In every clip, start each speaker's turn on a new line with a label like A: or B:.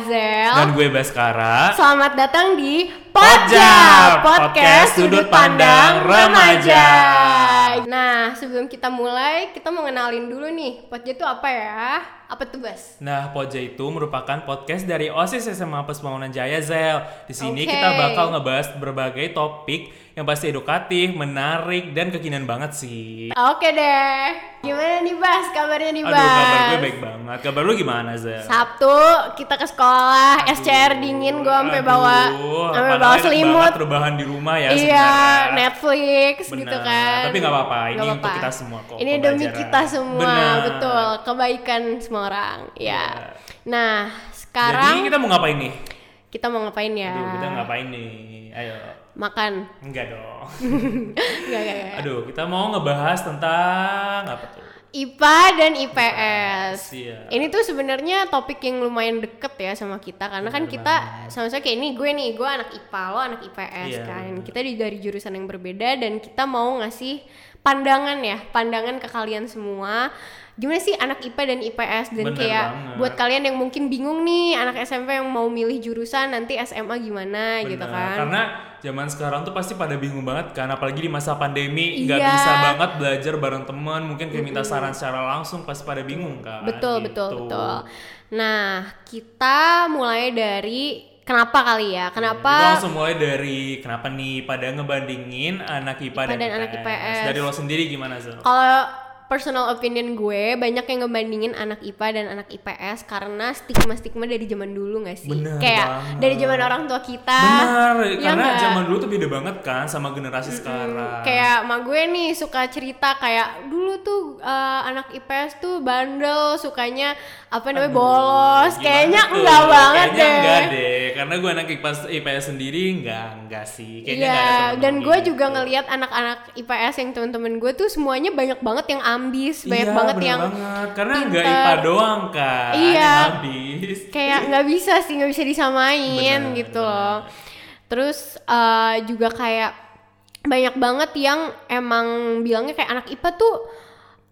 A: dengan gue Baskara.
B: Selamat datang di
A: Pojap,
B: Pojap Podcast Sudut Pandang Remaja. Nah, sebelum kita mulai, kita mau kenalin dulu nih. Pojap itu apa ya? Apa tuh, Bas?
A: Nah, Poja itu merupakan podcast dari OSIS SMA Pesbangunan Jaya Zel. Di sini
B: Oke.
A: kita bakal ngebahas berbagai topik yang pasti edukatif, menarik, dan kekinian banget sih.
B: Oke deh. Gimana nih, Bas? Kabarnya nih,
A: Iya. Aduh,
B: Bas?
A: kabar gue baik banget. Kabar lu gimana, Zel?
B: Sabtu kita ke sekolah, SCR dingin gue sampai
A: Aduh,
B: bawa sampai
A: padahal
B: bawa
A: enak
B: selimut.
A: banget rebahan di rumah ya
B: iya,
A: sebenarnya.
B: Netflix gitu
A: Benar,
B: kan.
A: tapi nggak apa-apa, ini
B: Nggak
A: untuk kita semua kok,
B: Ini demi
A: pembelajaran.
B: kita semua,
A: Benar.
B: betul. Kebaikan semua orang. Ya.
A: Iya.
B: Nah,
A: Jadi
B: sekarang Ya.
A: kita mau ngapain nih?
B: kita mau ngapain ya?
A: Aduh, kita ngapain nih? Ayo.
B: Makan.
A: Enggak dong.
B: Nggak, nggak, nggak.
A: Aduh, kita mau ngebahas tentang apa tuh?
B: IPA dan IPS.
A: Iya.
B: Ini tuh sebenarnya topik yang lumayan deket ya sama kita karena kan kita sama-sama kayak ini gue nih, gue anak IPA, lo anak IPS
A: Iya,
B: kan. Kita di- dari jurusan yang berbeda dan kita mau ngasih pandangan ya, pandangan ke kalian semua. Gimana sih anak IPA dan IPS dan
A: Bener
B: kayak
A: banget.
B: buat kalian yang mungkin bingung nih anak SMP yang mau milih jurusan nanti SMA gimana gitu
A: Benar,
B: kan.
A: Karena zaman sekarang tuh pasti pada bingung banget kan, apalagi di masa pandemi nggak
B: Iya.
A: bisa banget belajar bareng teman, mungkin kayak minta saran secara langsung pasti pada bingung kan.
B: Betul,
A: gitu.
B: betul, betul. Nah, kita mulai dari kenapa kali ya? Kenapa
A: Kita Iya, langsung mulai dari kenapa nih pada ngebandingin anak IPA,
B: IPA dan anak IPS.
A: Dari lo sendiri gimana Zul?
B: Kalau personal opinion gue banyak yang ngebandingin anak IPA dan anak IPS karena stigma-stigma dari zaman dulu gak sih?
A: Bener
B: Kayak
A: banget.
B: dari zaman orang tua kita.
A: Benar,
B: Iya
A: karena
B: nggak?
A: zaman dulu tuh beda banget kan sama generasi sekarang.
B: Kayak emak gue nih suka cerita kayak dulu tuh eh, anak IPS tuh bandel, sukanya apa namanya bolos.
A: Gimana
B: Kayaknya
A: tuh?
B: enggak banget
A: Kayaknya
B: deh.
A: enggak deh, karena gue anak IPS, IPS sendiri enggak, enggak sih.
B: Iya,
A: Kayaknya enggak ada temen-temen
B: dan gue
A: gitu.
B: juga ngelihat anak-anak IPS yang temen-temen gue tuh semuanya banyak banget yang ambis, banyak
A: Iya,
B: banget
A: bener
B: yang
A: banget. karena nggak
B: pinter.
A: IPA doang kan
B: Iya.
A: yang habis
B: kayak nggak bisa sih nggak bisa disamain
A: Benar,
B: gitu loh terus eh, juga kayak banyak banget yang emang bilangnya kayak anak IPA tuh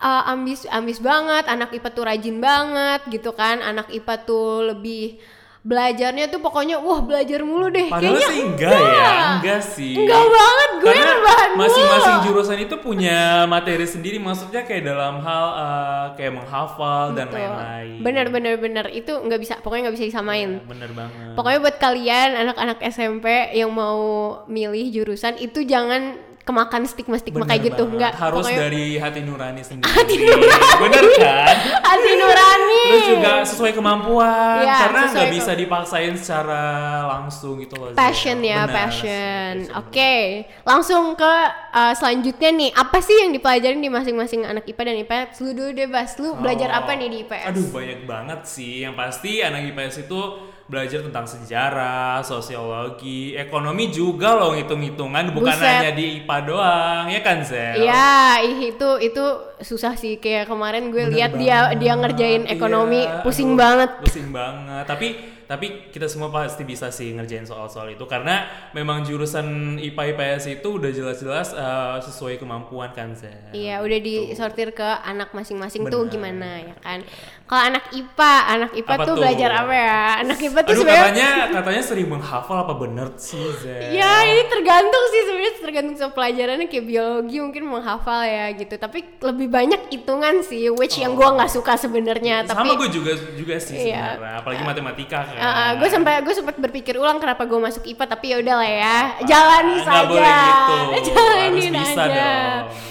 B: eh, ambis ambis banget anak IPA tuh rajin banget gitu kan anak IPA tuh lebih belajarnya tuh pokoknya wah belajar mulu deh
A: padahal
B: kayaknya
A: sih enggak, ya enggak sih
B: enggak banget gue
A: karena
B: rebahan mulu.
A: masing-masing jurusan itu punya materi sendiri maksudnya kayak dalam hal eh, kayak menghafal dan lain-lain Iya,
B: bener bener bener itu nggak bisa pokoknya nggak bisa disamain
A: bener banget
B: Pokoknya buat kalian anak-anak SMP yang mau milih jurusan itu jangan kemakan stigma-stigma
A: Bener
B: kayak gitu,
A: banget.
B: enggak.
A: harus
B: pokoknya
A: dari hati nurani sendiri bener kan
B: hati nurani.
A: terus juga sesuai kemampuan
B: Iya,
A: karena
B: sesuai
A: nggak
B: ke-
A: bisa dipaksain secara langsung gitu loh Zia.
B: passion ya,
A: Benar,
B: passion.
A: passion.
B: Oke, langsung ke uh, selanjutnya nih. Apa sih yang dipelajarin di masing-masing anak IPA dan IPS? Lu dulu deh, Bas. Lu belajar
A: Oh.
B: apa nih di E? IPS?
A: Aduh banyak banget sih. Yang pasti anak IPS itu belajar tentang sejarah, sosiologi, ekonomi juga loh hitung-hitungan bukan
B: Buset.
A: hanya di IPA doang ya kan Zel?
B: Iya, ih, itu itu susah sih kayak kemarin gue
A: Bener
B: lihat dia
A: banget.
B: dia ngerjain ekonomi
A: Iya,
B: pusing
A: aduh,
B: banget.
A: Pusing banget. Tapi tapi kita semua pasti bisa sih ngerjain soal-soal itu karena memang jurusan IPA IPS itu udah jelas-jelas eh, sesuai kemampuan kan Zel.
B: Iya, udah disortir ke anak masing-masing tuh
A: Benar.
B: gimana ya kan. Kalau anak IPA, anak IPA
A: Apa
B: tuh,
A: tuh?
B: belajar apa ya? Anak IPA tuh
A: Aduh
B: sebenarnya
A: katanya katanya sering menghafal apa bener sih Zel?
B: Ya, ini tergantung sih sebenarnya tergantung sama pelajarannya kayak biologi mungkin menghafal ya gitu. Tapi lebih banyak hitungan sih which yang gua nggak suka sebenarnya, Ya, tapi
A: Oh. sama gue juga juga sih
B: Iya. Ah,
A: sebenarnya apalagi matematika kan
B: gue sampai gue sempat berpikir ulang kenapa gue masuk IPA tapi ya udahlah ya jalani
A: Nggak
B: saja
A: boleh gitu harus
B: jalanin
A: bisa
B: aja
A: dong gitu.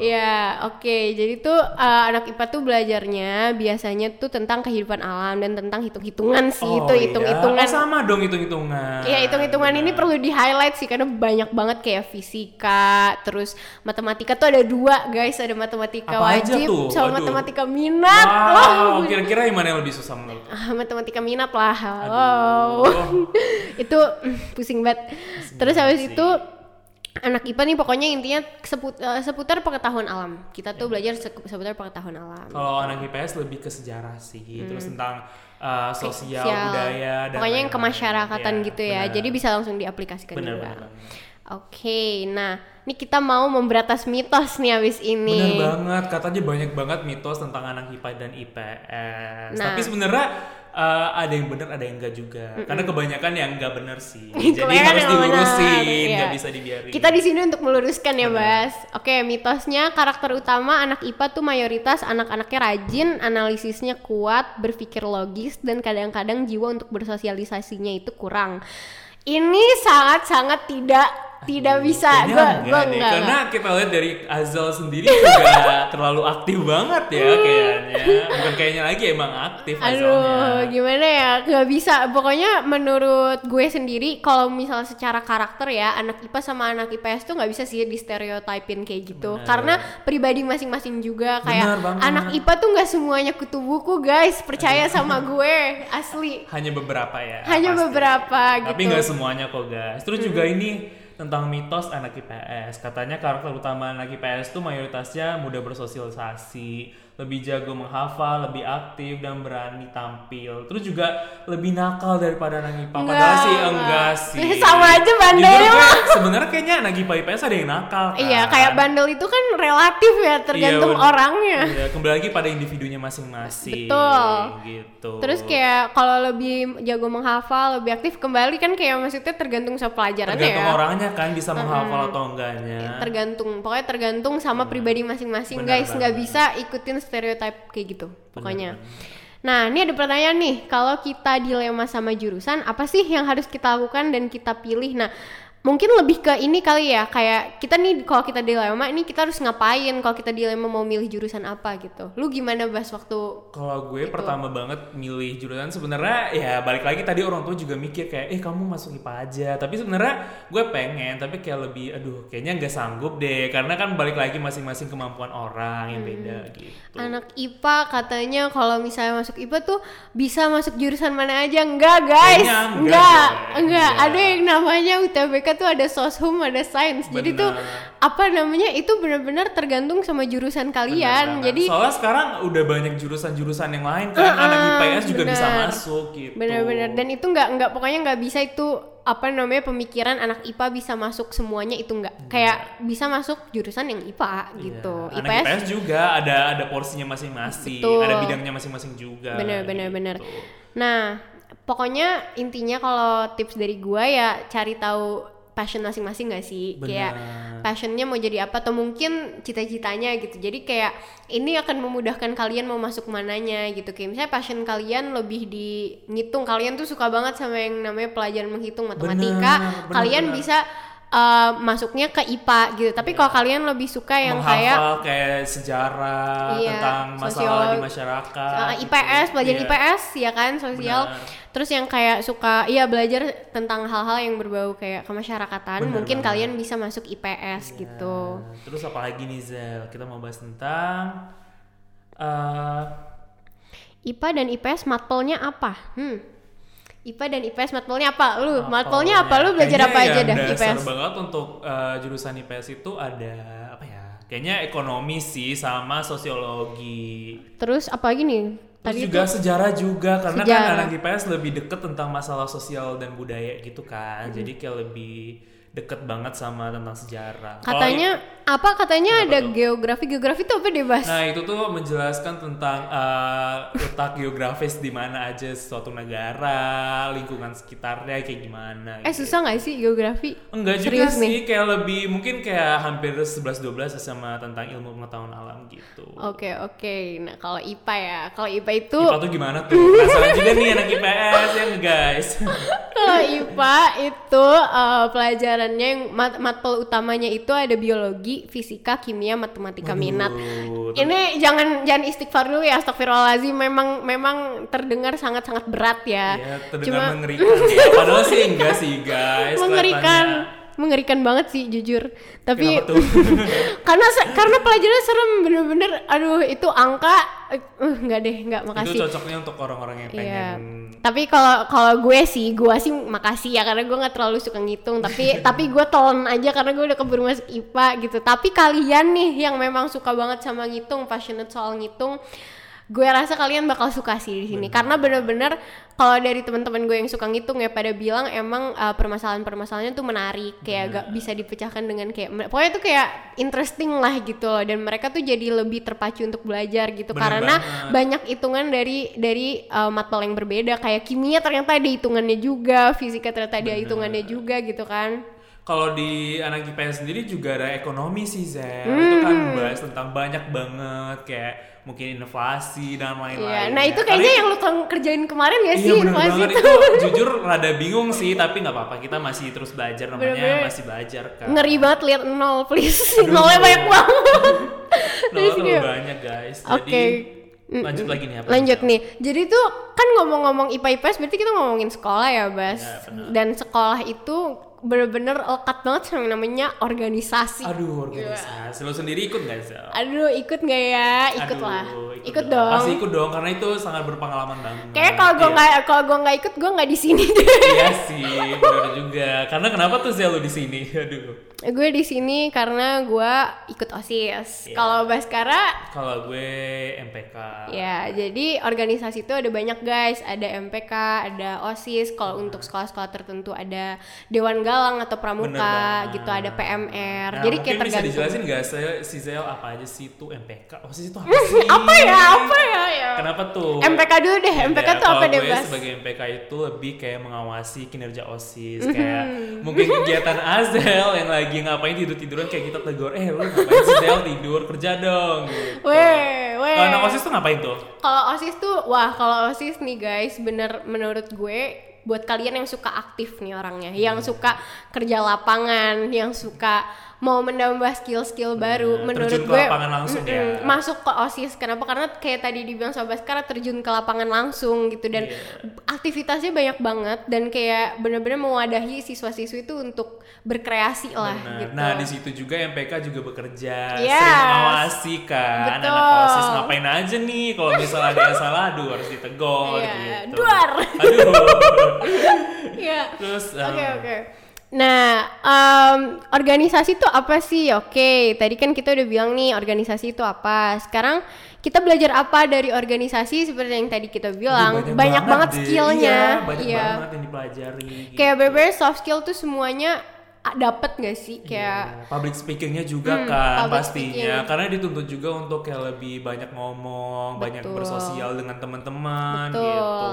B: Ya, oke. Jadi tuh eh, anak IPA tuh belajarnya biasanya tuh tentang kehidupan alam dan tentang hitung-hitungan sih. itu
A: iya.
B: hitung-hitungan.
A: Oh, sama dong hitung-hitungan
B: Iya, hitung-hitungan ini perlu di-highlight sih karena banyak banget kayak fisika, terus matematika tuh ada dua, guys. Ada matematika
A: Apa aja
B: wajib
A: tuh?
B: sama
A: Waduh.
B: matematika minat.
A: wow kira-kira yang mana yang lebih susah menurut lo?
B: Ah, matematika minat lah. Wow.
A: Aduh.
B: itu mm, pusing banget. Terus habis itu anak IPA nih pokoknya intinya seput- eh, seputar pengetahuan alam. Kita
A: Iya.
B: tuh belajar se- seputar pengetahuan alam.
A: kalau anak IPS lebih ke sejarah sih terus tentang uh, sosial,
B: Hmm. Sosial.
A: budaya dan
B: pokoknya yang
A: lain-lain.
B: kemasyarakatan
A: Iya,
B: gitu ya.
A: benar.
B: Jadi bisa langsung diaplikasikan
A: Benar,
B: juga.
A: benar banget.
B: Oke, nah ini kita mau memberatas mitos nih abis
A: Bener
B: ini.
A: banget, katanya banyak banget mitos tentang anak IPA dan IPS.
B: Nah.
A: Tapi sebenarnya eh, ada yang benar ada yang enggak juga. Karena kebanyakan yang enggak benar sih. Jadi
B: Kebanyakan
A: harus
B: yang nggak benar,
A: dilurusin,
B: iya.
A: nggak bisa dibiarin.
B: Kita di sini untuk meluruskan ya, Bas. Oke, mitosnya karakter utama anak IPA tuh mayoritas anak-anaknya rajin, analisisnya kuat, berpikir logis dan kadang-kadang jiwa untuk bersosialisasinya itu kurang. Ini sangat-sangat tidak tidak bisa
A: Kayaknya
B: gua
A: enggak
B: gua
A: deh.
B: enggak.
A: Karena kita lihat dari Azal sendiri juga terlalu aktif banget ya
B: Mm.
A: kayaknya. Bukan kayaknya lagi emang aktif
B: Aduh,
A: Azalnya.
B: gimana ya? Gak bisa. Pokoknya menurut gue sendiri, kalau misalnya secara karakter ya, anak IPA sama anak IPS tuh nggak bisa sih di stereotypin kayak gitu.
A: Bener.
B: Karena pribadi masing-masing juga kayak
A: Bener banget.
B: anak IPA tuh nggak semuanya kutu buku, guys. Percaya sama gue, asli.
A: Hanya beberapa ya.
B: Hanya
A: pasti.
B: beberapa
A: Tapi
B: gitu.
A: nggak semuanya kok guys. Terus juga ini tentang mitos anak IPS. Katanya karakter utama anak IPS tuh mayoritasnya mudah bersosialisasi, lebih jago menghafal, lebih aktif dan berani tampil. Terus juga lebih nakal daripada anak IPA. Padahal
B: Enggak,
A: sih
B: enggak.
A: enggak sih.
B: Sama aja bandelnya
A: Jujur gue, Sebenarnya kayaknya anak IPA IPS ada yang nakal. Kan?
B: Iya, kayak bandel itu kan relatif ya, tergantung
A: Iya, bener.
B: orangnya.
A: Iya, kembali lagi pada individunya masing-masing.
B: Betul.
A: Gitu.
B: Terus kayak kalau lebih jago menghafal, lebih aktif kembali kan kayak maksudnya tergantung sama pelajarannya
A: tergantung
B: ya.
A: orangnya kan bisa menghafal atau enggaknya.
B: tergantung pokoknya tergantung sama pribadi masing-masing
A: Iya. Hmm. Benar
B: guys nggak
A: banget.
B: bisa ikutin stereotip kayak gitu pokoknya nah ini ada pertanyaan nih kalau kita dilema sama jurusan apa sih yang harus kita lakukan dan kita pilih nah mungkin lebih ke ini kali ya kayak kita nih kalau kita dilema ini kita harus ngapain kalau kita dilema mau milih jurusan apa gitu lu gimana bas waktu
A: Kalau
B: Gitu.
A: gue pertama banget milih jurusan sebenarnya ya balik lagi tadi orang tua juga mikir kayak eh kamu masuk IPA aja tapi sebenarnya gue pengen tapi kayak lebih aduh kayaknya nggak sanggup deh karena kan balik lagi masing-masing kemampuan orang yang beda
B: Hmm.
A: gitu.
B: anak IPA katanya kalau misalnya masuk IPA tuh bisa masuk jurusan mana aja enggak guys
A: Kayaknya
B: enggak
A: enggak Iya.
B: enggak,
A: deh. Enggak.
B: ada yang namanya UTBK tuh ada soshum ada sains jadi tuh
A: Benar.
B: apa namanya itu benar-benar tergantung sama jurusan kalian
A: Bener banget.
B: jadi
A: soalnya sekarang udah banyak jurusan-jurusan yang lain kan anak IPS juga bisa
B: bener.
A: masuk gitu.
B: benar-benar dan itu enggak enggak pokoknya enggak bisa itu apa namanya pemikiran anak IPA bisa masuk semuanya itu enggak kayak bisa masuk jurusan yang IPA gitu
A: Iya, Anak IPS juga ada ada porsinya masing-masing,
B: Betul.
A: ada bidangnya masing-masing juga.
B: Bener bener bener.
A: gitu.
B: Nah, pokoknya intinya kalau tips dari gua ya cari tahu passion masing-masing gak sih?
A: Bener.
B: Kayak passionnya mau jadi apa atau mungkin cita-citanya gitu. Jadi kayak ini akan memudahkan kalian mau masuk mananya gitu. Kayak misalnya passion kalian lebih di ngitung. Kalian tuh suka banget sama yang namanya pelajaran menghitung matematika.
A: bener,
B: kalian
A: bener.
B: bisa uh, masuknya ke IPA gitu. Tapi kalau kalian lebih suka yang kayak
A: menghafal kayak sejarah
B: Iya,
A: tentang masalah
B: sosiologi.
A: di masyarakat.
B: Uh,
A: gitu.
B: IPS, belajar
A: Iya.
B: IPS ya kan, sosial. Terus yang kayak suka iya belajar tentang hal-hal yang berbau kayak kemasyarakatan,
A: Bener
B: mungkin
A: banget.
B: kalian bisa masuk IPS gitu.
A: Nah, terus apa lagi nih Zel? Kita mau bahas tentang eh,
B: IPA dan IPS matpelnya apa? Hmm. IPA dan IPS matpelnya apa? Lu matpelnya apa? Lu belajar
A: oh, Kayaknya
B: apa aja
A: yang
B: dah
A: dasar
B: IPS?
A: banget untuk eh, jurusan IPS itu ada apa ya? Kayaknya ekonomi sih sama sosiologi.
B: Terus apa lagi nih?
A: Terus
B: Tadi
A: juga sejarah juga karena
B: Sejarah.
A: kan anak IPS lebih deket tentang masalah sosial dan budaya gitu kan. Jadi kayak lebih deket banget sama tentang sejarah. Kalau
B: katanya apa katanya ada geografi. Geografi itu apa deh, Bas?
A: Nah itu tuh menjelaskan tentang eh, letak geografis di mana aja suatu negara, lingkungan sekitarnya kayak gimana.
B: eh
A: gitu.
B: susah nggak sih geografi?
A: Enggak juga
B: Serius
A: sih,
B: nih.
A: kayak lebih mungkin kayak hampir 11-12 sama tentang ilmu pengetahuan alam gitu.
B: Oke, oke. Nah, kalau IPA ya. Kalau IPA itu
A: IPA tuh gimana tuh? Penasaran juga nih anak IPS ya nggak, guys.
B: Kalau IPA itu eh, pelajarannya yang mat- matpel utamanya itu ada biologi, fisika, kimia, matematika minat.
A: Waduh,
B: Ini jangan jangan istighfar dulu ya, astagfirullahalazim memang memang terdengar sangat-sangat berat ya.
A: Ya,
B: Cuma
A: terdengar mengerikan. Ya, Padahal sih enggak sih, guys.
B: mengerikan, mengerikan banget sih jujur. Tapi
A: Kenapa tuh?
B: karena se- karena pelajarannya serem bener-bener aduh itu angka eh, uh, nggak deh, nggak
A: Kelihatannya. Itu
B: makasih.
A: cocoknya untuk orang-orang yang pengen
B: Iya. Tapi kalau kalau gue sih, gue sih makasih ya karena gue nggak terlalu suka ngitung. Tapi tapi gue telan aja karena gue udah keburu masuk IPA gitu. Tapi kalian nih yang memang suka banget sama ngitung, passionate soal ngitung, gue rasa kalian bakal suka sih di sini karena bener-bener kalau dari teman-teman gue yang suka ngitung ya pada bilang emang uh, permasalahan-permasalahannya tuh menarik kayak gak bisa dipecahkan dengan kayak men- pokoknya tuh kayak interesting lah gitu loh dan mereka tuh jadi lebih terpacu untuk belajar gitu
A: Bener
B: karena
A: banget.
B: banyak hitungan dari dari uh, matpel yang berbeda kayak kimia ternyata ada hitungannya juga fisika ternyata ada hitungannya juga gitu kan
A: Kalau di anak IPS sendiri juga ada ekonomi sih Zer. Itu kan
B: Hmm.
A: bahas tentang banyak banget kayak mungkin inovasi dan
B: Iya,
A: lain-lain.
B: nah itu kayaknya yang lu tang- kerjain kemarin ya sih
A: ya. Iya bener
B: inovasi
A: banget
B: itu.
A: itu jujur rada bingung sih tapi nggak apa-apa kita masih terus belajar namanya
B: Bener-bener. Nah,
A: masih belajar kan.
B: Ngeri banget lihat nol please. Nolnya banyak banget.
A: Nolnya terlalu
B: kayak-
A: banyak guys.
B: iya. Oke.
A: Jadi lanjut lagi nih apa?
B: Lanjut nih. Jadi tuh kan ngomong-ngomong IPA IPS berarti kita ngomongin sekolah ya, Bas.
A: Iya, benar.
B: Dan sekolah itu bener-bener lekat banget sama yang namanya organisasi.
A: Aduh
B: Iya.
A: organisasi. Lo sendiri ikut nggak Zer?
B: Aduh, ikut nggak ya? Ikut
A: Aduh,
B: lah. Ikut,
A: dong.
B: dong.
A: Pasti ikut dong karena itu sangat berpengalaman banget.
B: Kayaknya kalau gue
A: Iya.
B: nggak kalau gue nggak ikut gue nggak di sini deh.
A: Iya sih, benar juga. Karena kenapa tuh Zel lo di sini? Aduh.
B: gue di sini karena gue ikut osis.
A: Iya.
B: Kalau Baskara
A: Kalau gue MPK.
B: Ya, jadi organisasi itu ada banyak guys, ada MPK, ada OSIS, kalau
A: Hmm.
B: untuk sekolah-sekolah tertentu ada Dewan Galang atau
A: Bener
B: Pramuka
A: banget.
B: gitu, ada PMR.
A: Nah,
B: jadi
A: mungkin
B: kayak
A: bisa
B: tergantung.
A: dijelasin nggak Zel- si Zel apa aja sih itu MPK? Oh, sih itu apa sih?
B: Apa ya? Apa ya? ya?
A: Kenapa tuh?
B: MPK dulu deh, MPK
A: Iya,
B: tuh apa
A: kalau
B: deh,
A: gue
B: Bas?
A: sebagai MPK itu lebih kayak mengawasi kinerja OSIS
B: Hmm.
A: kayak mungkin kegiatan Azel yang lagi ngapain tidur-tiduran kayak kita tegur, "Eh, lu ngapain sih Zel tidur? Kerja dong." Gitu.
B: Weh, weh.
A: Kalau anak OSIS tuh ngapain tuh?
B: Kalau OSIS tuh, wah kalau OSIS nih guys, bener menurut gue buat kalian yang suka aktif nih orangnya,
A: Hmm.
B: yang suka kerja lapangan, yang suka mau menambah skill-skill baru,
A: Bener,
B: menurut
A: Hmm, terjun ke
B: gue
A: lapangan langsung ya.
B: masuk ke OSIS. Kenapa? Karena kayak tadi dibilang sama Baskara terjun ke lapangan langsung gitu
A: Iya.
B: dan aktivitasnya banyak banget dan kayak bener-bener mewadahi siswa-siswi itu untuk berkreasi lah
A: Benar.
B: gitu.
A: Nah, di situ juga MPK juga bekerja,
B: Yes.
A: sering mengawasi kan
B: Betul.
A: anak OSIS ngapain aja nih kalau misalnya ada yang salah, aduh harus ditegur
B: Iya,
A: gitu.
B: duar.
A: Aduh.
B: Iya.
A: Terus eh,
B: Oke
A: em,
B: oke. Nah, em, organisasi itu apa sih? Oke, tadi kan kita udah bilang nih organisasi itu apa. Sekarang kita belajar apa dari organisasi seperti yang tadi kita bilang.
A: aduh,
B: banyak, banget,
A: deh.
B: skillnya.
A: Iya, banyak
B: Iya.
A: banget yang dipelajari. gitu.
B: Kayak beber soft skill tuh semuanya ah, dapet gak sih? Kayak
A: Iya, public speakingnya juga
B: ya. Hmm,
A: kan
B: public
A: pastinya karena dituntut juga untuk kayak lebih banyak ngomong banyak
B: Betul.
A: bersosial dengan teman-teman
B: Betul.
A: gitu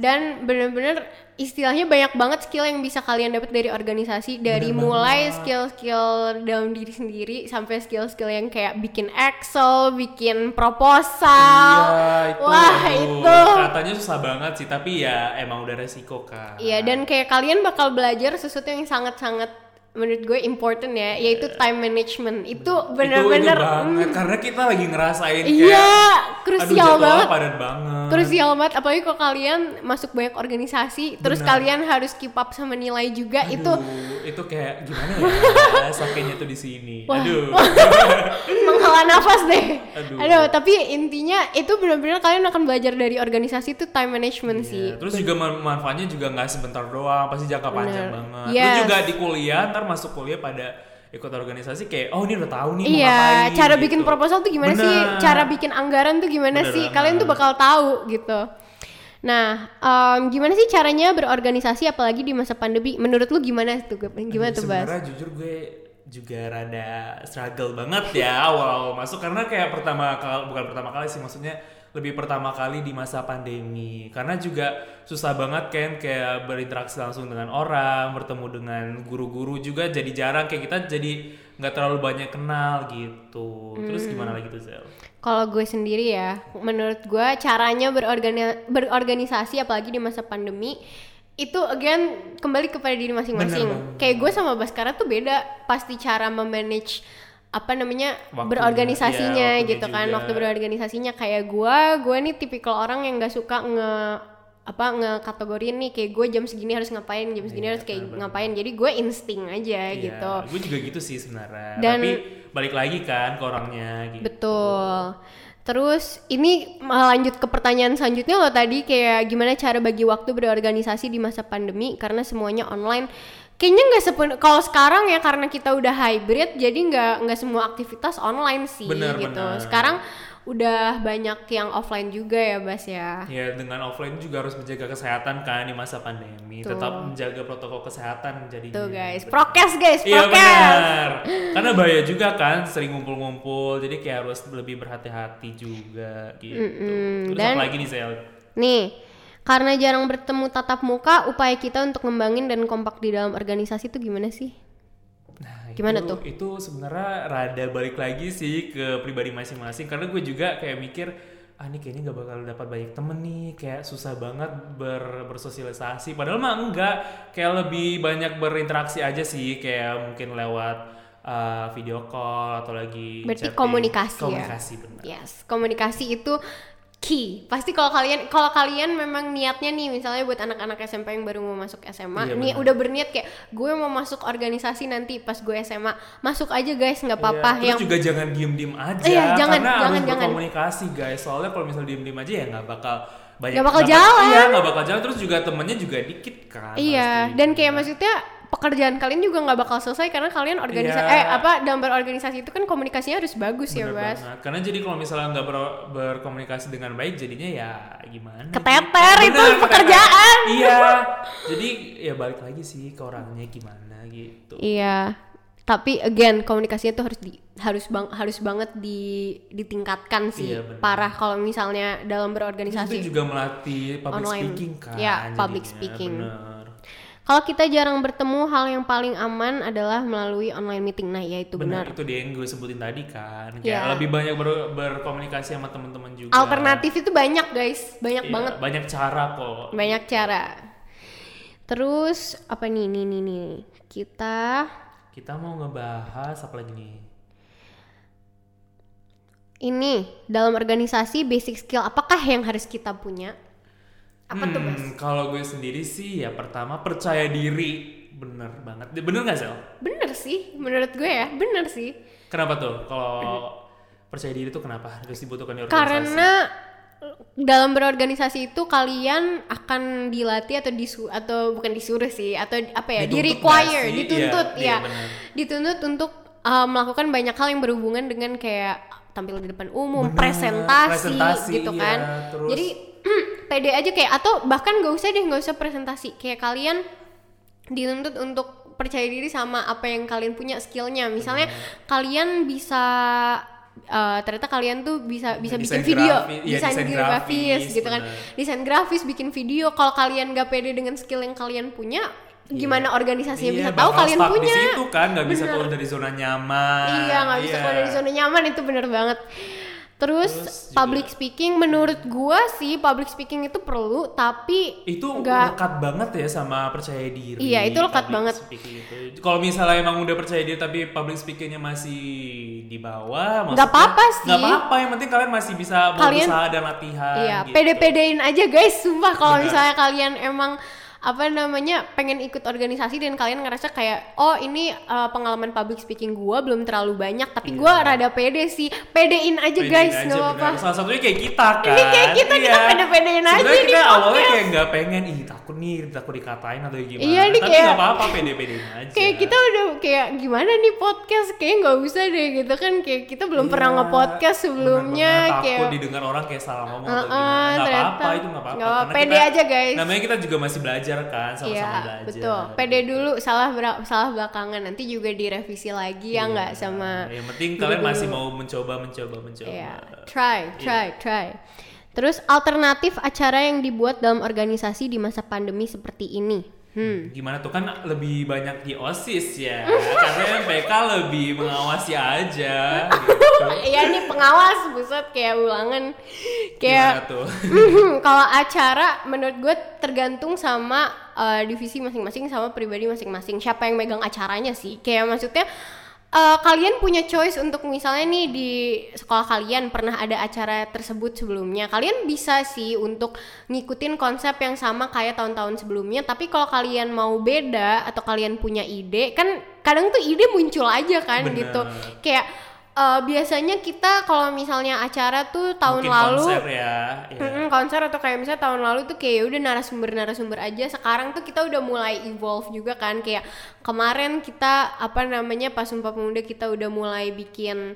B: dan bener-bener istilahnya banyak banget skill yang bisa kalian dapat dari organisasi dari
A: Bener
B: mulai
A: banget.
B: skill-skill dalam diri sendiri sampai skill-skill yang kayak bikin Excel, bikin proposal.
A: iya itu
B: Wah,
A: aduh,
B: itu.
A: katanya susah banget sih tapi ya emang udah resiko kan
B: Iya, dan kayak kalian bakal belajar sesuatu yang sangat-sangat menurut gue important ya, yaitu time management. Itu
A: Iya. itu,
B: bener-bener mm, hmm.
A: itu banget karena kita lagi ngerasain
B: Iya,
A: kayak aduh
B: krusial
A: jadwalnya
B: banget.
A: padat banget
B: Krusial banget apalagi kalau kalian masuk banyak organisasi, terus
A: Benar.
B: kalian harus keep up sama nilai juga
A: Aduh,
B: itu
A: itu kayak gimana ya sakitnya tuh di sini
B: Wah.
A: aduh Iya,
B: menghela nafas deh.
A: Aduh.
B: Aduh. tapi intinya itu benar-benar kalian akan belajar dari organisasi itu time management sih.
A: Iya, Terus juga man- manfaatnya juga nggak sebentar doang, pasti jangka panjang
B: gitu. Bener.
A: banget. Terus
B: Yes.
A: juga di kuliah, ntar masuk kuliah pada ikut organisasi kayak, oh ini udah tahu nih mau
B: Iya,
A: ngapain.
B: cara
A: gitu.
B: bikin proposal tuh gimana sih?
A: Bener.
B: Cara bikin anggaran tuh gimana
A: Bener
B: sih?
A: banget.
B: Kalian tuh bakal tahu gitu. Nah, em, gimana sih caranya berorganisasi apalagi di masa pandemi? Menurut lu gimana tuh? Gap? Gimana
A: Aduh,
B: tuh, Bas?
A: Sebenarnya jujur gue juga rada struggle banget ya awal masuk karena kayak pertama kali bukan pertama kali sih maksudnya lebih pertama kali di masa pandemi karena juga susah banget kan kayak berinteraksi langsung dengan orang bertemu dengan guru-guru juga jadi jarang kayak kita jadi nggak terlalu banyak kenal gitu
B: Hmm.
A: terus gimana lagi tuh Zel?
B: Kalau gue sendiri ya, menurut gue caranya berorgani- berorganisasi apalagi di masa pandemi itu again kembali kepada diri
A: Bener
B: masing-masing. Kayak gue sama Baskara tuh beda pasti cara memanage apa namanya
A: Waktunya, iya,
B: berorganisasinya
A: waktunya
B: gitu kan
A: juga.
B: waktu berorganisasinya kayak gue gue nih tipikal orang yang nggak suka nge apa ngekategorin nih kayak gue jam segini harus ngapain jam segini
A: Iya,
B: harus kayak
A: bener-bener. Iya,
B: ngapain jadi gue insting aja gitu
A: Gue juga gitu sih sebenarnya.
B: Dan-
A: Tapi balik lagi kan ke orangnya gitu.
B: Betul. Terus ini uh, lanjut ke pertanyaan selanjutnya lo tadi kayak gimana cara bagi waktu berorganisasi di masa pandemi karena semuanya online. kayaknya nggak sepen kalau sekarang ya karena kita udah hybrid jadi nggak nggak semua aktivitas online sih
A: Benar,
B: gitu
A: benar.
B: sekarang udah banyak yang offline juga ya Bas ya
A: Ya dengan offline juga harus menjaga kesehatan kan di masa pandemi.
B: Tuh.
A: Tetap menjaga protokol kesehatan jadi.
B: tuh Gitu, guys prokes guys
A: Iya
B: prokes
A: benar. Karena bahaya juga kan sering ngumpul-ngumpul. Jadi kayak harus lebih berhati-hati juga gitu.
B: Mm-mm,
A: Terus
B: dan-
A: apa lagi nih Sel?
B: Nih, karena jarang bertemu tatap muka, upaya kita untuk ngembangin dan kompak di dalam organisasi itu gimana sih?
A: Nah,
B: Gimana
A: itu,
B: tuh?
A: Itu sebenarnya rada balik lagi sih ke pribadi masing-masing. Karena gue juga kayak mikir ah ini kayaknya gak bakal dapat banyak temen nih kayak susah banget ber- bersosialisasi padahal mah enggak kayak lebih banyak berinteraksi aja sih kayak mungkin lewat uh, video call atau lagi
B: Berarti
A: chatting.
B: komunikasi ya?
A: komunikasi benar
B: Yes, komunikasi itu key. Pasti kalau kalian kalau kalian memang niatnya nih misalnya buat anak-anak SMP yang baru mau masuk SMA,
A: Iya,
B: nih
A: benar.
B: udah berniat kayak gue mau masuk organisasi nanti pas gue SMA. Masuk aja guys, nggak apa-apa
A: Iya, terus
B: yang
A: juga jangan diem-diem aja
B: Iya, jangan,
A: karena
B: jangan,
A: harus
B: jangan.
A: berkomunikasi guys soalnya kalau misalnya diem-diem aja ya nggak bakal banyak
B: Nggak bakal
A: dapat-
B: jalan.
A: iya nggak bakal jalan terus juga temennya juga dikit kan
B: Iya,
A: pasti.
B: dan kayak maksudnya pekerjaan kalian juga nggak bakal selesai karena kalian organisasi
A: Iya.
B: eh apa dalam berorganisasi itu kan komunikasinya harus bagus ya,
A: Bener
B: Bas.
A: banget. karena jadi kalau misalnya nggak ber- berkomunikasi dengan baik jadinya ya gimana
B: Keteter,
A: gitu.
B: itu
A: keteter.
B: pekerjaan.
A: iya jadi ya balik lagi sih ke orangnya gimana gitu
B: Iya. Tapi again komunikasinya tuh harus di harus bang harus banget di ditingkatkan sih
A: Iya, benar.
B: parah kalau misalnya dalam
A: itu
B: berorganisasi.
A: juga melatih public
B: Iya Online.
A: speaking kan
B: Iya, public
A: jadinya.
B: speaking.
A: Bener.
B: Kalau kita jarang bertemu, hal yang paling aman adalah melalui online meeting. Nah, ya itu
A: benar
B: benar.
A: itu dia yang gue sebutin tadi kan kayak
B: Iya.
A: lebih banyak ber- berkomunikasi sama teman-teman juga
B: Alternatif itu banyak, guys. Banyak
A: Iya,
B: banget,
A: banyak cara kok
B: banyak cara. Terus apa nih nih nih nih. Kita
A: kita mau ngebahas apa lagi nih
B: ini dalam organisasi basic skill apakah yang harus kita punya? Apa tuh,
A: Hmm,
B: Bas?
A: kalau gue sendiri sih ya pertama percaya diri bener banget bener nggak sel
B: Bener sih, menurut gue ya, bener sih.
A: kenapa tuh kalau percaya diri itu kenapa harus dibutuhkan di organisasi
B: Karena dalam berorganisasi itu kalian akan dilatih atau disu atau bukan disuruh sih atau apa ya di
A: Dituntut
B: require
A: nggak sih?
B: dituntut
A: Iya, iya,
B: ya
A: benar.
B: dituntut untuk uh, melakukan banyak hal yang berhubungan dengan kayak tampil di depan umum
A: Benar,
B: presentasi,
A: presentasi,
B: gitu
A: iya,
B: kan
A: terus-
B: jadi pede aja kayak atau bahkan gak usah deh gak usah presentasi kayak kalian dituntut untuk percaya diri sama apa yang kalian punya skillnya misalnya kalian bisa eh, ternyata kalian tuh bisa bisa
A: Nah, Desain
B: bikin video
A: grafi- iya,
B: desain,
A: desain
B: grafis,
A: grafis,
B: gitu kan
A: benar.
B: desain grafis bikin video kalau kalian gak pede dengan skill yang kalian punya gimana organisasinya
A: Iya,
B: bisa tahu
A: bakal
B: kalian
A: stuck
B: punya
A: di situ kan nggak bisa
B: Benar.
A: keluar dari zona nyaman
B: Iya nggak bisa keluar dari zona nyaman itu bener banget. Terus,
A: Terus juga-
B: public speaking menurut gua sih public speaking itu perlu tapi
A: itu
B: nggak
A: lekat banget ya sama percaya diri.
B: Iya, itu lekat
A: public
B: banget.
A: speaking itu. Kalau misalnya emang udah percaya diri tapi public speakingnya masih di bawah,
B: Nggak apa-apa sih.
A: Gak apa-apa, yang penting kalian masih bisa
B: Kalian-
A: berusaha dan latihan.
B: iya
A: gitu.
B: pede-pedein aja guys sumpah kalau
A: Benar.
B: misalnya kalian emang apa namanya pengen ikut organisasi dan kalian ngerasa kayak oh ini uh, pengalaman public speaking gua belum terlalu banyak tapi gua rada pede sih pedein aja
A: Iya. Pedein
B: guys
A: aja,
B: nggak
A: benar.
B: apa-apa
A: Salah satunya kayak kita kan.
B: Ini kayak kita, kita pede-pedein aja
A: Sebenarnya
B: di
A: kita awalnya
B: podcast.
A: kayak nggak pengen, ih takut nih, takut dikatain atau gimana.
B: Iya, ini
A: tapi
B: kayak-
A: nggak apa-apa, pede-pedein aja.
B: kayak kita udah kayak gimana nih podcast kayak nggak usah deh gitu kan kayak kita belum pernah
A: Iya,
B: nge-podcast sebelumnya
A: benar-benar
B: kayak
A: takut didengar orang kayak salah ngomong atau
B: Heeh,
A: gimana nggak apa-apa
B: ternyata.
A: itu nggak apa-apa
B: Nggak apa,
A: Karena
B: pede aja, guys.
A: namanya kita juga masih belajar kan sama-sama
B: Iya,
A: belajar
B: betul. Pede dulu salah bera- salah belakangan nanti juga direvisi lagi ya nggak sama
A: Nah, yang
B: dulu
A: penting kalian masih
B: dulu.
A: mau mencoba mencoba mencoba Hmm.
B: Iya, try, try, try. Terus alternatif acara yang dibuat dalam organisasi di masa pandemi seperti ini. Hmm.
A: gimana tuh kan lebih banyak di osis ya karena MPK lebih mengawasi aja gitu.
B: Iya nih pengawas buset kayak ulangan kayak
A: gimana tuh
B: Mm-hmm. kalau acara menurut gue tergantung sama eh, divisi masing-masing sama pribadi masing-masing siapa yang megang acaranya sih kayak maksudnya eh, kalian punya choice untuk misalnya nih di sekolah kalian pernah ada acara tersebut sebelumnya kalian bisa sih untuk ngikutin konsep yang sama kayak tahun-tahun sebelumnya tapi kalau kalian mau beda atau kalian punya ide kan kadang tuh ide muncul aja kan
A: Bener.
B: gitu kayak eh, biasanya kita kalau misalnya acara tuh tahun
A: Mungkin
B: lalu
A: konser ya, ya.
B: Mm-mm, konser atau kayak misalnya tahun lalu tuh kayak ya udah narasumber-narasumber aja sekarang tuh kita udah mulai evolve juga kan kayak kemarin kita apa namanya pas Sumpah Pemuda kita udah mulai bikin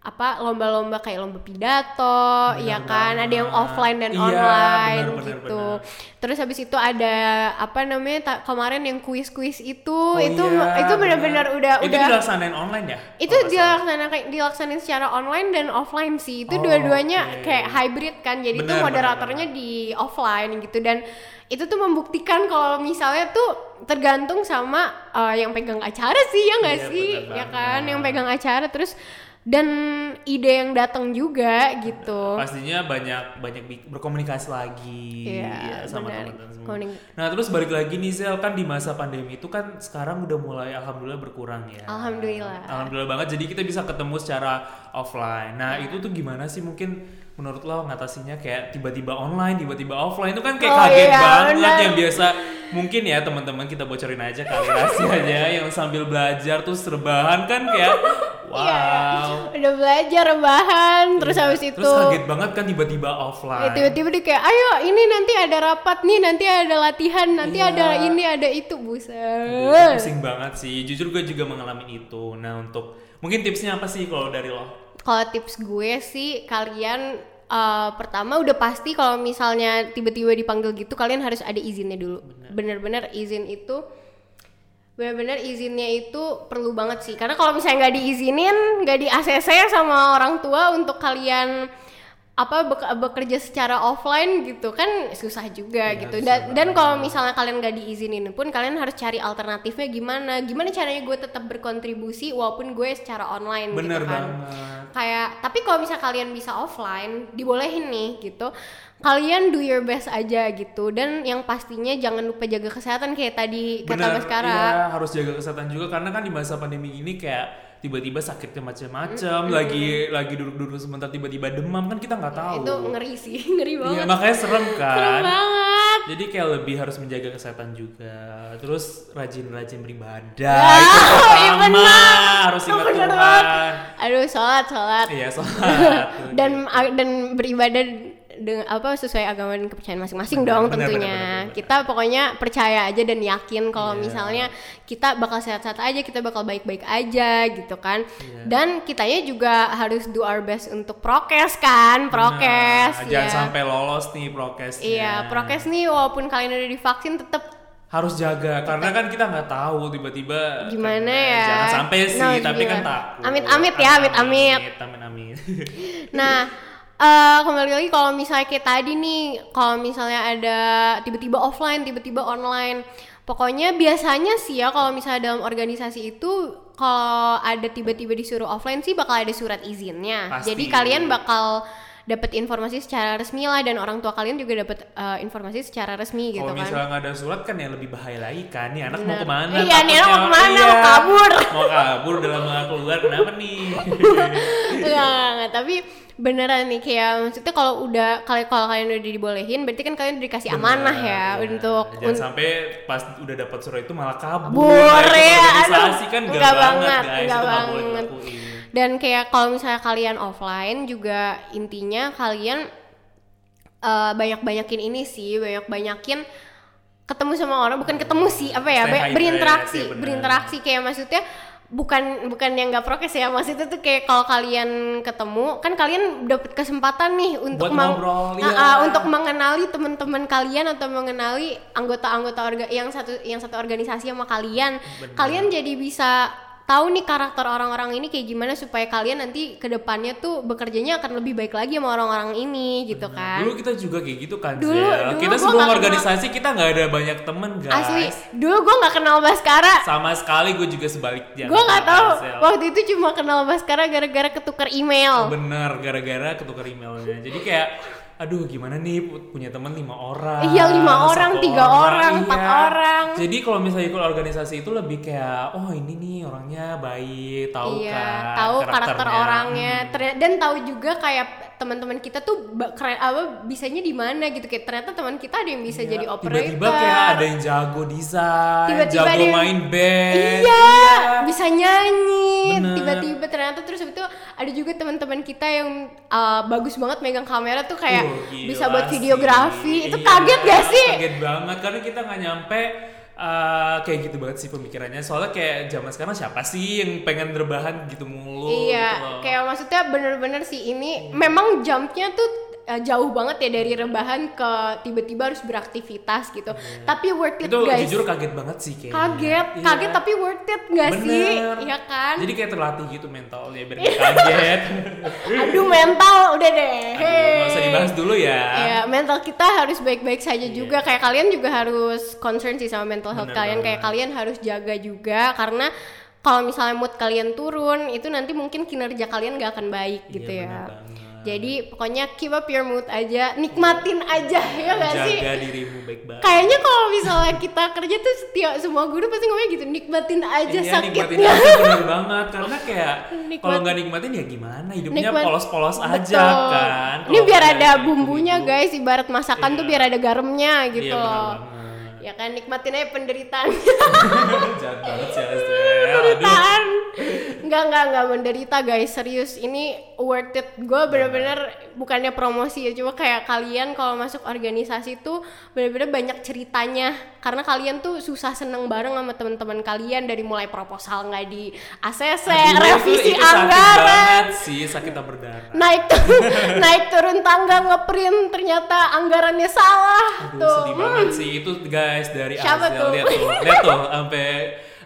B: apa lomba-lomba kayak lomba pidato ya kan ada yang
A: banget.
B: offline dan
A: Iya,
B: online
A: benar, benar,
B: gitu
A: benar.
B: terus habis itu ada apa namanya ta- kemarin yang kuis-kuis itu
A: Oh
B: itu
A: iya,
B: itu benar-benar udah
A: itu
B: udah
A: dilaksanain online ya
B: itu
A: Kalau nggak salah.
B: dilaksanakan dilaksanain secara online dan offline sih itu
A: Oh,
B: dua-duanya
A: oke.
B: kayak hybrid kan jadi itu
A: Benar, benar,
B: moderatornya di offline gitu dan itu tuh membuktikan kalau misalnya tuh tergantung sama eh, yang pegang acara sih ya nggak
A: Iya,
B: sih
A: benar
B: ya
A: banget.
B: kan yang pegang acara terus dan ide yang datang juga gitu
A: pastinya banyak banyak bi- berkomunikasi lagi
B: Iya,
A: ya, sama
B: benar.
A: teman-teman semua.
B: Komunik-
A: Nah terus balik lagi nih Zel kan di masa pandemi itu kan sekarang udah mulai alhamdulillah berkurang ya.
B: Alhamdulillah.
A: Alhamdulillah banget jadi kita bisa ketemu secara offline. Nah itu tuh gimana sih mungkin menurut lo ngatasinya kayak tiba-tiba online tiba-tiba offline itu kan kayak
B: Oh,
A: kaget
B: iya,
A: banget
B: benar.
A: yang biasa mungkin ya teman-teman kita bocorin aja kali rahasianya yang sambil belajar tuh serbahan kan kayak
B: Iya,
A: wow.
B: udah belajar rebahan terus
A: Iya.
B: habis itu
A: Terus kaget banget kan tiba-tiba
B: Ya,
A: offline.
B: tiba-tiba dia kayak ayo ini nanti ada rapat nih nanti ada latihan nanti
A: Iya.
B: ada ini ada itu
A: Aduh, itu
B: buset
A: pusing banget sih. Jujur gue juga mengalami itu. Nah untuk mungkin tipsnya apa sih kalau dari lo?
B: kalau tips gue sih kalian eh, pertama udah pasti kalau misalnya tiba-tiba dipanggil gitu kalian harus ada izinnya dulu bener-bener izin itu bener-bener izinnya itu perlu banget sih karena kalau misalnya nggak diizinin nggak di ACC sama orang tua untuk kalian apa bek- bekerja secara offline gitu kan susah juga
A: Iya,
B: gitu dan dan kalau misalnya kalian nggak diizinin pun kalian harus cari alternatifnya gimana gimana caranya gue tetap berkontribusi walaupun gue secara online
A: Bener
B: gitu kan
A: banget.
B: kayak tapi kalau bisa kalian bisa offline dibolehin nih gitu kalian do your best aja gitu dan yang pastinya jangan lupa jaga kesehatan kayak tadi kata
A: Bener,
B: Mas Kara
A: iya, harus jaga kesehatan juga karena kan di masa pandemi ini kayak tiba-tiba sakitnya macam-macam, lagi lagi duduk-duduk sebentar tiba-tiba demam kan kita nggak tahu.
B: itu ngeri sih ngeri banget
A: Iya, makanya serem
B: serem
A: kan.
B: banget
A: Jadi kayak lebih harus menjaga kesehatan juga. Terus rajin-rajin beribadah. itu
B: iya
A: pertama
B: benar.
A: harus ingat
B: Bener
A: Tuhan.
B: banget. aduh sholat sholat
A: Iya, Nah, soalnya
B: dan ah, dan beribadah dengan apa sesuai agama dan kepercayaan masing-masing
A: Benar,
B: dong
A: benar,
B: tentunya.
A: benar, benar, Iya. benar.
B: Kita pokoknya percaya aja dan yakin kalau misalnya kita bakal sehat-sehat aja, kita bakal baik-baik aja gitu kan.
A: Iya.
B: Dan kitanya juga harus do our best untuk prokes kan, prokes
A: Nah,
B: ya.
A: jangan sampai ya. lolos nih prokesnya.
B: Iya, prokes nih walaupun kalian udah divaksin tetap
A: Harus jaga karena kan kita nggak tahu tiba-tiba
B: Gimana
A: kena.
B: ya?
A: Jangan sampai sih,
B: Nah,
A: tapi kan
B: gimana?
A: takut.
B: Amit-amit ya, amit-amit.
A: Amit-amit.
B: Nah, eh, kembali lagi kalau misalnya kayak tadi nih, kalau misalnya ada tiba-tiba offline, tiba-tiba online, pokoknya biasanya sih ya kalau misalnya dalam organisasi itu kalau ada tiba-tiba disuruh offline sih bakal ada surat izinnya.
A: Pasti.
B: Jadi kalian bakal dapat informasi secara resmi lah dan orang tua kalian juga dapat eh, informasi secara resmi gitu kan.
A: Kalau Oh, misalnya nggak ada surat kan yang lebih bahaya lagi kan. Nih anak mau
B: Benar.
A: kemana?
B: Iya, nih anak mau
A: takutnya.
B: kemana, mau kabur.
A: Mau kabur dalam nggak keluar kenapa nih?
B: Enggak, enggak, enggak. tapi beneran nih kayak maksudnya kalau udah kalau kalau kalian udah dibolehin berarti kan kalian udah dikasih amanah ya
A: Iya.
B: untuk
A: jangan sampai pas udah dapat surat itu malah kabur.
B: Kabur,
A: Nah, itu
B: ya.
A: organisasi
B: Aduh,
A: kan nggak
B: nggak
A: banget,
B: banget,
A: guys.
B: nggak
A: itu nggak boleh
B: banget.
A: dilakuin.
B: dan kayak kalau misalnya kalian offline juga intinya kalian eh, banyak-banyakin ini sih banyak-banyakin ketemu sama orang bukan ketemu sih apa ya
A: Stay
B: ba-
A: hydrated,
B: berinteraksi
A: ya benar.
B: berinteraksi kayak maksudnya bukan bukan yang nggak prokes ya maksudnya tuh kayak kalau kalian ketemu kan kalian dapat kesempatan nih untuk
A: Buat
B: meng-
A: ngobrol,
B: Ah,
A: iya.
B: ah, untuk mengenali teman-teman kalian atau mengenali anggota-anggota orga yang satu yang satu organisasi sama kalian
A: Benar.
B: kalian jadi bisa tahu nih karakter orang-orang ini kayak gimana supaya kalian nanti kedepannya tuh bekerjanya akan lebih baik lagi sama orang-orang ini gitu kan
A: Dulu kita juga kayak gitu kan,
B: Dulu-
A: Zel.
B: dulu
A: kita
B: gua
A: sebelum
B: nggak kenal.
A: organisasi kita nggak ada banyak temen guys.
B: asli dulu gue nggak kenal Baskara
A: Sama sekali gue juga sebaliknya.
B: gue nggak
A: sama
B: tahu
A: Zel.
B: waktu itu cuma kenal Baskara gara-gara ketukar email
A: Bener, gara-gara ketukar emailnya. Jadi kayak, aduh gimana nih pu- punya temen lima orang.
B: Iya, lima
A: satu Iya.
B: orang, tiga orang, empat orang.
A: Jadi kalau misalnya ikut organisasi itu lebih kayak, oh ini nih orangnya baik, tahu
B: iya tahu
A: kan karakternya. Hmm.
B: karakter orangnya Ternyata- dan tahu juga kayak teman-teman kita tuh ba- keren apa bisanya di mana gitu kayak ternyata teman kita ada yang bisa jadi
A: Iya,
B: operator
A: Tiba-tiba kayak ada yang jago desain,
B: Tiba-tiba
A: jago
B: ada yang-
A: main band.
B: Iya, bisa nyanyi.
A: Bener.
B: Tiba-tiba ternyata terus habis itu ada juga teman-teman kita yang uh, bagus banget megang kamera tuh kayak
A: Uh, gila
B: bisa buat
A: sih.
B: videografi. Itu
A: Iya,
B: kaget gak sih?
A: Kaget banget karena kita nggak nyampe eh, kayak gitu banget sih pemikirannya. Soalnya kayak zaman sekarang siapa sih yang pengen rebahan gitu mulu?
B: Iya,
A: gitu loh.
B: kayak maksudnya bener-bener sih
A: Hmm.
B: ini memang jumpnya tuh uh, jauh banget ya dari rebahan ke tiba-tiba harus beraktivitas gitu. Tapi worth it
A: Iya. itu
B: guys.
A: jujur Iya. kaget banget sih kayak.
B: kaget, kaget tapi worth it gak sih? Iya kan?
A: Jadi kayak terlatih gitu mentalnya biar nggak kaget.
B: Aduh mental udah deh.
A: Iya. Aduh, nggak usah
B: Hey.
A: dibahas dulu ya.
B: Ya, mental kita harus baik-baik saja
A: Iya.
B: juga. Kayak kalian juga harus concern sih sama mental health
A: Bener
B: kalian. Kayak
A: banget.
B: kalian harus jaga juga karena kalau misalnya mood kalian turun, itu nanti mungkin kinerja kalian gak akan baik
A: Iya,
B: gitu
A: bener
B: ya.
A: banget.
B: Jadi pokoknya keep up your mood aja, nikmatin aja ya gak sih?
A: Iya. Jaga dirimu baik-baik.
B: Kayaknya kalau misalnya kita kerja tuh setiap semua guru pasti ngomongnya gitu, nikmatin aja
A: Iya, nikmatin
B: sakitnya. Oh,
A: aja bener banget karena kayak
B: Nikmat-
A: kalau nggak nikmatin ya gimana hidupnya
B: Nikmat-
A: polos-polos aja
B: Betul.
A: kan.
B: Ini
A: Kalau
B: biar
A: nggak
B: ada
A: gitu-gitu.
B: bumbunya guys, ibarat masakan tuh
A: Iya.
B: biar ada garamnya
A: Iya,
B: gitu
A: bener
B: loh.
A: banget.
B: Ya kan nikmatin aja penderitaan.
A: Jahat banget sih Ya, Aduh.
B: penderitaan. Enggak enggak enggak menderita guys, serius ini worth it.
A: Nah.
B: Gue bener-bener bukannya promosi ya, cuma kayak kalian kalau masuk organisasi tuh bener-bener banyak ceritanya. Karena kalian tuh susah seneng bareng sama teman-teman kalian dari mulai proposal nggak di ACC,
A: Aduh,
B: revisi
A: itu- itu Sakit
B: anggaran,
A: banget sih, sakit tak berdarah.
B: naik tu- naik turun tangga ngeprint ternyata anggarannya salah
A: Aduh,
B: tuh
A: sedih
B: Hmm,
A: banget sih itu guys dari
B: Siapa
A: Azel
B: tuh?
A: lihat tuh, lihat tuh sampai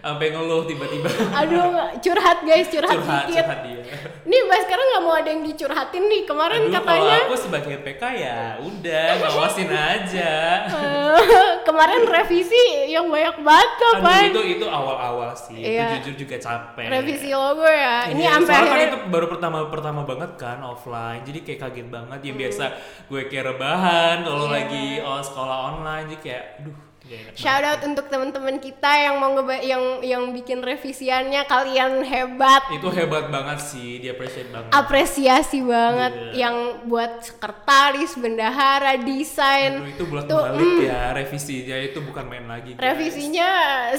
A: sampai ngeluh tiba-tiba.
B: aduh curhat guys curhat,
A: curhat,
B: dikit
A: curhat dia.
B: nih mas sekarang nggak mau ada yang dicurhatin nih kemarin
A: Aduh, kalau
B: katanya
A: aku sebagai PK ya udah ngawasin aja.
B: eh, kemarin revisi yang banyak banget
A: Aduh,
B: kapan
A: itu itu awal-awal sih.
B: Iya.
A: Itu jujur juga capek.
B: revisi logo ya ini sampai
A: Iya, soalnya
B: akhirnya
A: kan itu baru pertama pertama banget kan offline jadi kayak kaget banget ya biasa gue kayak rebahan
B: Iya.
A: kalau lagi oh, sekolah online jadi kayak aduh gak enak banget.
B: Shout out untuk teman-teman kita yang mau ngeba- yang yang bikin revisiannya kalian hebat
A: itu hebat banget sih dia appreciate banget
B: apresiasi banget
A: Iya.
B: yang buat sekretaris, bendahara, desain
A: Aduh, itu bulat
B: Tuh, mm.
A: balik ya revisinya itu bukan main lagi guys.
B: revisinya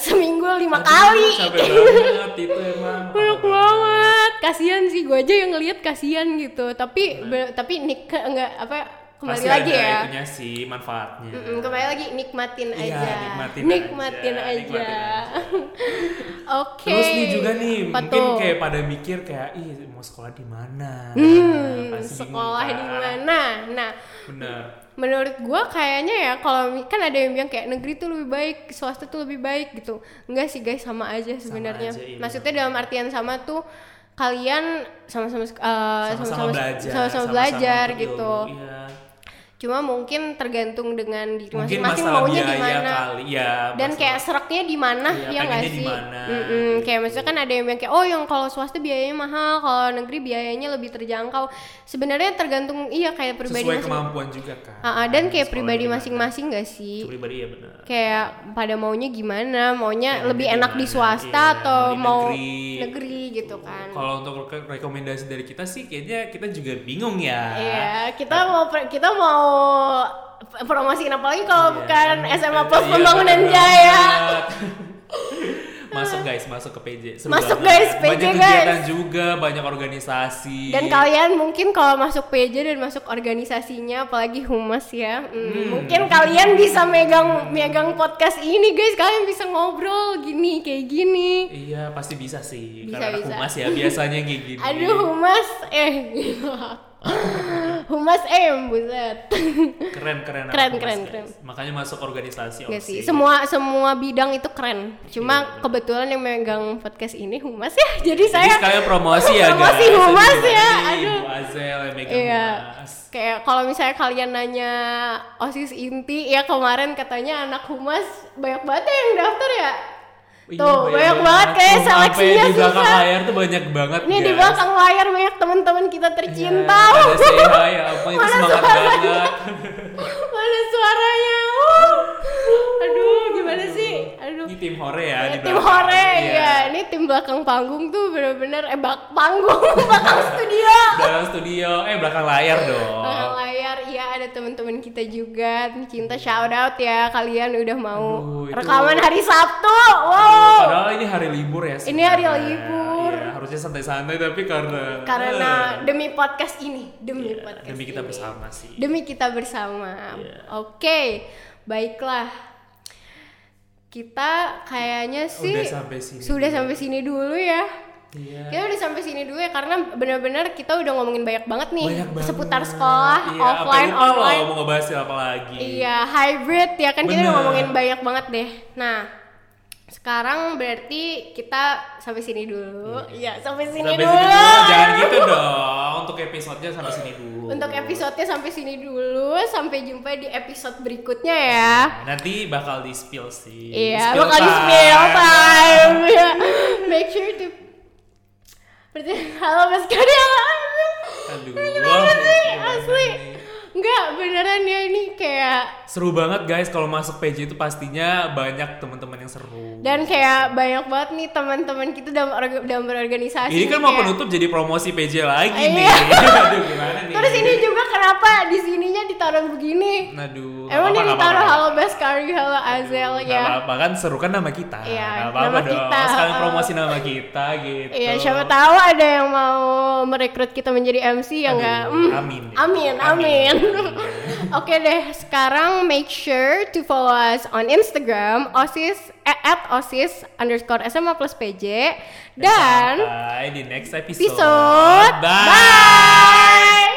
B: seminggu lima
A: Aduh,
B: kali
A: capek banget itu emang
B: banyak banget kasihan sih gue aja yang ngeliat kasihan gitu tapi be- tapi nik enggak apa kembali
A: Nah. Pasti
B: lagi
A: ada
B: ya
A: itunya sih manfaatnya
B: Mm-mm, kembali lagi nikmatin
A: Iya,
B: aja
A: nikmatin
B: nikmatin
A: aja, Iya,
B: aja,
A: nikmatin
B: oke
A: Terus nih juga nih
B: Apa
A: mungkin
B: tuh?
A: kayak pada mikir kayak ih mau sekolah di mana?
B: Hmm,
A: Pasti bingung,
B: sekolah
A: kan?
B: di mana nah
A: Bener.
B: menurut gua kayaknya ya kalau mi- kan ada yang bilang kayak negeri tuh lebih baik swasta tuh lebih baik gitu enggak sih guys sama aja sebenarnya
A: aja, iya.
B: maksudnya dalam artian sama tuh kalian sama-sama eh,
A: Sama-sama belajar,
B: sama-sama belajar
A: untuk
B: gitu
A: ilmu, iya.
B: cuma mungkin tergantung dengan diri
A: Mungkin
B: masing-masing
A: masalah
B: maunya di
A: biaya
B: mana
A: kali, ya.
B: dan
A: masalah-
B: kayak seraknya di mana
A: Iya,
B: ya nggak
A: pengennya di
B: sih
A: mana, gitu.
B: Mm-mm, kayak maksudnya kan ada yang bilang kayak oh yang kalau swasta biayanya mahal kalau negeri biayanya lebih terjangkau sebenarnya tergantung iya kayak pribadi
A: sesuai
B: masing-
A: kemampuan juga kan.
B: Ah, ah, dan kayak
A: Sekolah
B: pribadi
A: di mana.
B: masing-masing gak sih
A: Pribadi ya benar.
B: kayak pada maunya gimana maunya
A: Kayak
B: lebih
A: lebih
B: enak di
A: gimana,
B: swasta
A: iya,
B: atau
A: di
B: mau
A: negeri.
B: negeri, gitu kan
A: Kalau untuk reke- rekomendasi dari kita sih kayaknya kita juga bingung ya.
B: Iya, kita mau pre- kita mau p- promosiin apa lagi kalau
A: Iya,
B: Oh, bukan
A: kan?
B: SMA
A: Iya,
B: Plus
A: bener
B: Pembangunan
A: banget.
B: Jaya. Ah.
A: masuk guys, masuk ke PJ. Seru
B: Masuk, guys, PJ,
A: banget. Banyak
B: guys.
A: kegiatan juga, banyak organisasi.
B: Dan kalian mungkin kalau masuk PJ dan masuk organisasinya apalagi humas ya, hmm, mungkin kalian bisa megang megang podcast ini guys, kalian bisa ngobrol gini kayak gini.
A: Iya pasti bisa sih
B: Bisa,
A: karena anak
B: bisa.
A: humas ya biasanya kayak gini.
B: Aduh humas eh humas eh buset.
A: keren keren. anak
B: Keren,
A: humas,
B: keren,
A: guys.
B: keren.
A: Makanya masuk organisasi.
B: Gak sih,
A: OSIS.
B: semua semua bidang itu keren.
A: Iya,
B: Cuma
A: bener.
B: kebetulan yang megang podcast ini humas ya. Jadi,
A: Jadi
B: saya
A: sekalian promosi ya guys.
B: Promosi humas
A: Jadi
B: ya.
A: gimana nih,
B: Aduh.
A: Ibu Azel yang megang
B: Iya.
A: humas.
B: Kayak kalau misalnya kalian nanya OSIS inti ya kemarin katanya anak humas banyak banget yang daftar ya.
A: Iya,
B: Tuh, banyak banget kayak
A: Tuh,
B: seleksinya
A: sampai di belakang
B: susah.
A: layar tuh banyak banget.
B: Ini di
A: guys.
B: belakang layar banyak teman-teman kita tercinta.
A: Iya, Ada Seha ya apa itu
B: Mana
A: semangat
B: suaranya?
A: banget.
B: Mana suaranya? Wuh. Aduh, gimana sih? Aduh, tuh
A: Ini tim hore ya di
B: Ini tim
A: belakang.
B: hore
A: Iya.
B: ya ini tim belakang panggung tuh bener-bener eh bak panggung belakang studio
A: Dalam studio, eh belakang layar dong.
B: belakang layar iya ada teman-teman kita juga Tim cinta shout out ya kalian udah mau
A: Aduh, itu-
B: rekaman hari Sabtu
A: Oh,
B: wow
A: Padahal ini hari libur ya.
B: Ini hari
A: sebenarnya.
B: libur.
A: Iya, harusnya santai-santai tapi karena
B: karena
A: eh,
B: demi podcast ini demi
A: iya,
B: podcast
A: demi kita
B: ini.
A: bersama sih.
B: demi kita bersama
A: Iya.
B: oke baiklah kita kayaknya sih
A: Udah sampai sini.
B: sudah sampai sini dulu ya
A: Iya.
B: kita udah sampai sini dulu ya karena benar-benar kita udah ngomongin banyak banget nih
A: Banyak banget.
B: seputar sekolah
A: Iya, apa
B: offline
A: lupa loh
B: online
A: mau ngebahas apa lagi.
B: Iya, hybrid ya kan kita udah
A: Bener.
B: ngomongin banyak banget deh. Nah, sekarang berarti kita sampai sini dulu. Iya, sampai sini
A: Hmm. Sampai
B: dulu.
A: sini dulu, jangan gitu dong. Untuk episodenya sampai sini dulu.
B: Untuk episodenya sampai sini dulu. Sampai jumpa di episode berikutnya ya.
A: nanti bakal di spill sih.
B: Iya,
A: Spill
B: bakal di
A: time.
B: spill time. Iya. Make sure to Berarti- halo Mas Karya.
A: Aduh.
B: Beneran sih,
A: gimana
B: asli.
A: nih?
B: Enggak, beneran ya ini kayak
A: Seru banget guys kalau masuk PJ itu pastinya banyak teman-teman yang seru.
B: dan kayak banyak banget nih teman-teman kita dalam orga- dalam berorganisasi.
A: ini kan
B: nih,
A: mau
B: kayak-
A: penutup jadi promosi PJ lagi
B: Iya.
A: nih. Aduh gimana nih?
B: Terus ini juga kenapa di sininya ditaruh begini?
A: Aduh.
B: Emang
A: nggak
B: dia ditaruh
A: apa-apa, nggak apa-apa.
B: halo Baskari, halo Azel
A: Nggak
B: ya.
A: apa-apa kan seru kan nama kita.
B: Iya,
A: Nggak apa-apa
B: nama
A: dong. Oh,
B: kita,
A: Sekalian
B: uh-uh.
A: promosi nama kita gitu.
B: Iya, siapa tahu ada yang mau merekrut kita menjadi MC ya
A: Aduh,
B: enggak?
A: amin.
B: Amin, amin.
A: Amin.
B: Oke deh, sekarang make sure to follow us on Instagram osis eh, at osis underscore SMA plus PJ dan kan?
A: Sampai di next episode.
B: episode. Bye.